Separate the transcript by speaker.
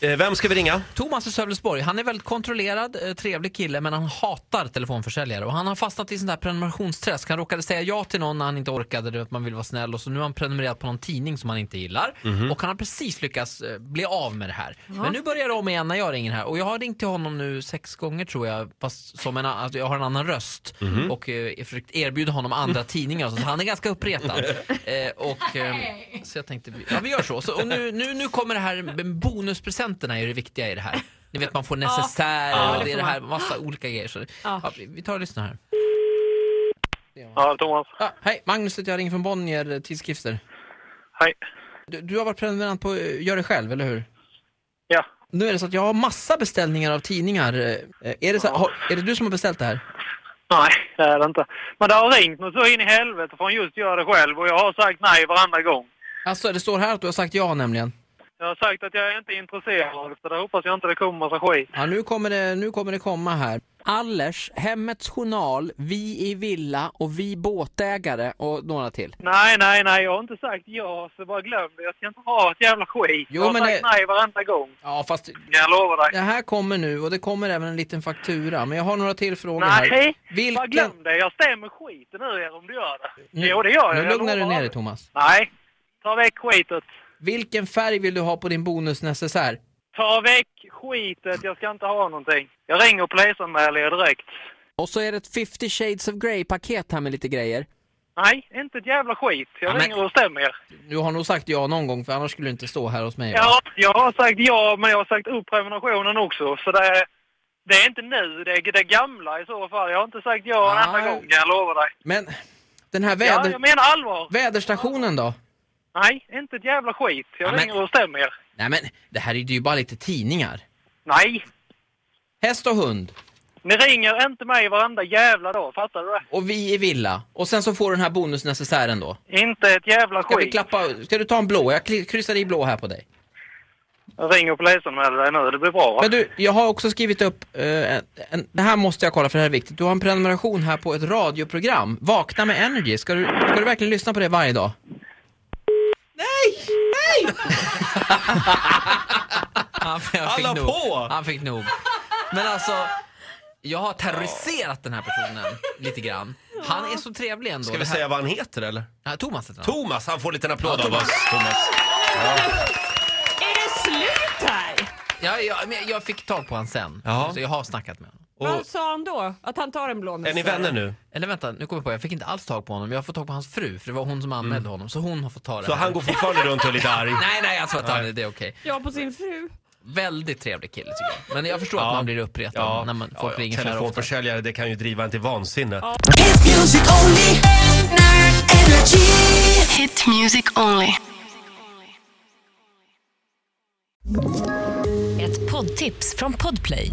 Speaker 1: Eh, Vem ska vi ringa?
Speaker 2: Thomas i Sölvesborg, han är väldigt kontrollerad, eh, trevlig kille men han hatar telefonförsäljare och han har fastnat i sånt där prenumerationsträsk. Han råkade säga ja till någon när han inte orkade, du vet man vill vara snäll och så nu har han prenumererat på någon tidning som han inte gillar och han har precis lyckats eh, bli av med det här. Men nu börjar det om igen när jag ringer här och jag har ringt till honom nu sex gånger tror jag, fast som en, a- alltså jag har en annan röst och eh, försökt erbjuda honom andra tidningar och så, så han är ganska uppretad. Eh, och, eh, så jag tänkte, vi- ja vi gör så. så och nu, nu, nu kommer det här, med bonuspresenterna är det viktiga i det här. Ni vet man får necessär
Speaker 3: Ja,
Speaker 2: och
Speaker 3: det
Speaker 2: det är
Speaker 3: får
Speaker 2: det här,
Speaker 3: man.
Speaker 2: massa olika grejer. Så, ja, vi- vi tar och lyssnar här.
Speaker 4: Ja, Thomas.
Speaker 2: Ja, hej, Magnus heter jag, ringer från Bonnier eh, Tidskrifter.
Speaker 4: Hej.
Speaker 2: Du, du har varit prenumerant på eh, Gör det själv, eller hur?
Speaker 4: Ja,
Speaker 2: Nu är det så att jag har massa beställningar av tidningar. Eh, Är det, så, har, är det du som har beställt det här?
Speaker 4: nej det är det inte. Men det har ringt något så in i helvete från just gör det själv och jag har sagt nej varenda gång.
Speaker 2: Alltså, det står här att du har sagt ja nämligen.
Speaker 4: Jag har sagt att jag är inte intresserad så där hoppas jag inte det kommer massa skit.
Speaker 2: Ja, nu kommer det, nu kommer det komma här. Allers, Hemmets Journal, Vi i villa och Vi båtägare och några till.
Speaker 4: Nej, nej, nej, jag har inte sagt ja så bara glöm det. Jag ska inte ha ett jävla skit.
Speaker 2: Jo,
Speaker 4: jag har
Speaker 2: men
Speaker 4: sagt
Speaker 2: det-
Speaker 4: nej varenda gång.
Speaker 2: Ja, fast
Speaker 4: Kan jag lova dig.
Speaker 2: det här kommer nu och det kommer även en liten faktura. Men jag har några till frågor här.
Speaker 4: Nej, bara
Speaker 2: Vilken...
Speaker 4: glöm det. Jag stämmer skiten ur er om du gör det.
Speaker 2: Nu-
Speaker 4: Jo, det gör jag.
Speaker 2: Nu
Speaker 4: jag
Speaker 2: lugnar du
Speaker 4: lovar.
Speaker 2: ner dig Thomas.
Speaker 4: Nej, ta väck skitet.
Speaker 2: Vilken färg vill du ha på din bonusnecessär?
Speaker 4: Ta väck skitet. Jag ska inte ha någonting. Jag ringer och polisanmäler er direkt.
Speaker 2: Och så är det ett 50 shades of Grey-paket här med lite grejer.
Speaker 4: Nej, inte ett jävla skit. Jag
Speaker 2: Ja, men-
Speaker 4: ringer och stämmer er.
Speaker 2: Du har nog sagt ja någon gång för annars skulle du inte stå här hos mig. va?
Speaker 4: Ja, jag har sagt ja, men jag har sagt upp prenumerationen också. Så det är, det är inte nu, det är det gamla i så fall. Jag har inte sagt ja en enda
Speaker 2: Nej.
Speaker 4: gång, kan jag lova dig.
Speaker 2: Men den här
Speaker 4: Ja,
Speaker 2: väder...
Speaker 4: jag menar allvar.
Speaker 2: väderstationen då?
Speaker 4: Nej, inte ett jävla skit. Jag
Speaker 2: Ja, men-
Speaker 4: ringer och stämmer er.
Speaker 2: Nej men, det här är ju det är ju bara lite tidningar.
Speaker 4: Nej,
Speaker 2: Häst och hund.
Speaker 4: ni ringer inte mig varenda jävla dag, fattar du det?
Speaker 2: Och vi i villa. Och sen så får du den här bonusnecessären då.
Speaker 4: Inte ett jävla
Speaker 2: Ska vi
Speaker 4: skit.
Speaker 2: klappa... Ska du ta en blå? Jag kli- kryssar i blå här på dig.
Speaker 4: Jag ringer och polisanmäler dig nu, det blir bra va?
Speaker 2: Men du, jag har också skrivit upp... eh, en, en, det här måste jag kolla för det här är viktigt. Du har en prenumeration här på ett radioprogram. Vakna med Energy. Ska du, ska du verkligen lyssna på det varje dag?
Speaker 5: Han, han
Speaker 1: Alla
Speaker 5: fick nog.
Speaker 1: på!
Speaker 5: Han fick nog. Men alltså, jag har terroriserat den här personen lite grann. Han är så trevlig ändå.
Speaker 1: Ska vi
Speaker 5: Det här-
Speaker 1: säga vad han heter eller?
Speaker 5: Ja, Thomas heter han.
Speaker 1: Thomas, han får en liten applåd
Speaker 5: Ja,
Speaker 1: av oss. Thomas.
Speaker 3: Är det slut här?
Speaker 5: Ja, ja, men jag fick tag på honom sen.
Speaker 1: Ja.
Speaker 5: Så jag har snackat med honom.
Speaker 1: Och,
Speaker 3: Vad sa han då? Att han tar en blå
Speaker 1: är ni vänner nu?
Speaker 5: Eller vänta, nu kommer jag på, jag fick inte alls tag på honom. Jag har fått tag på hans fru, för det var hon som anmälde honom. Så hon har fått ta det
Speaker 1: Mm. Så
Speaker 5: här.
Speaker 1: han går fortfarande runt och är lite arg?
Speaker 5: Nej, nej, jag tror att han är det är okej.
Speaker 3: Ja, på sin fru.
Speaker 5: Väldigt trevlig kille tycker jag. Men jag förstår
Speaker 1: Ja.
Speaker 5: att man blir uppretad när man, folk ringer så här ofta.
Speaker 1: Telefonförsäljare, det kan ju driva en till vansinne.
Speaker 6: Hit music only. Energy.
Speaker 7: Hit music only.
Speaker 8: Ett poddtips från Podplay.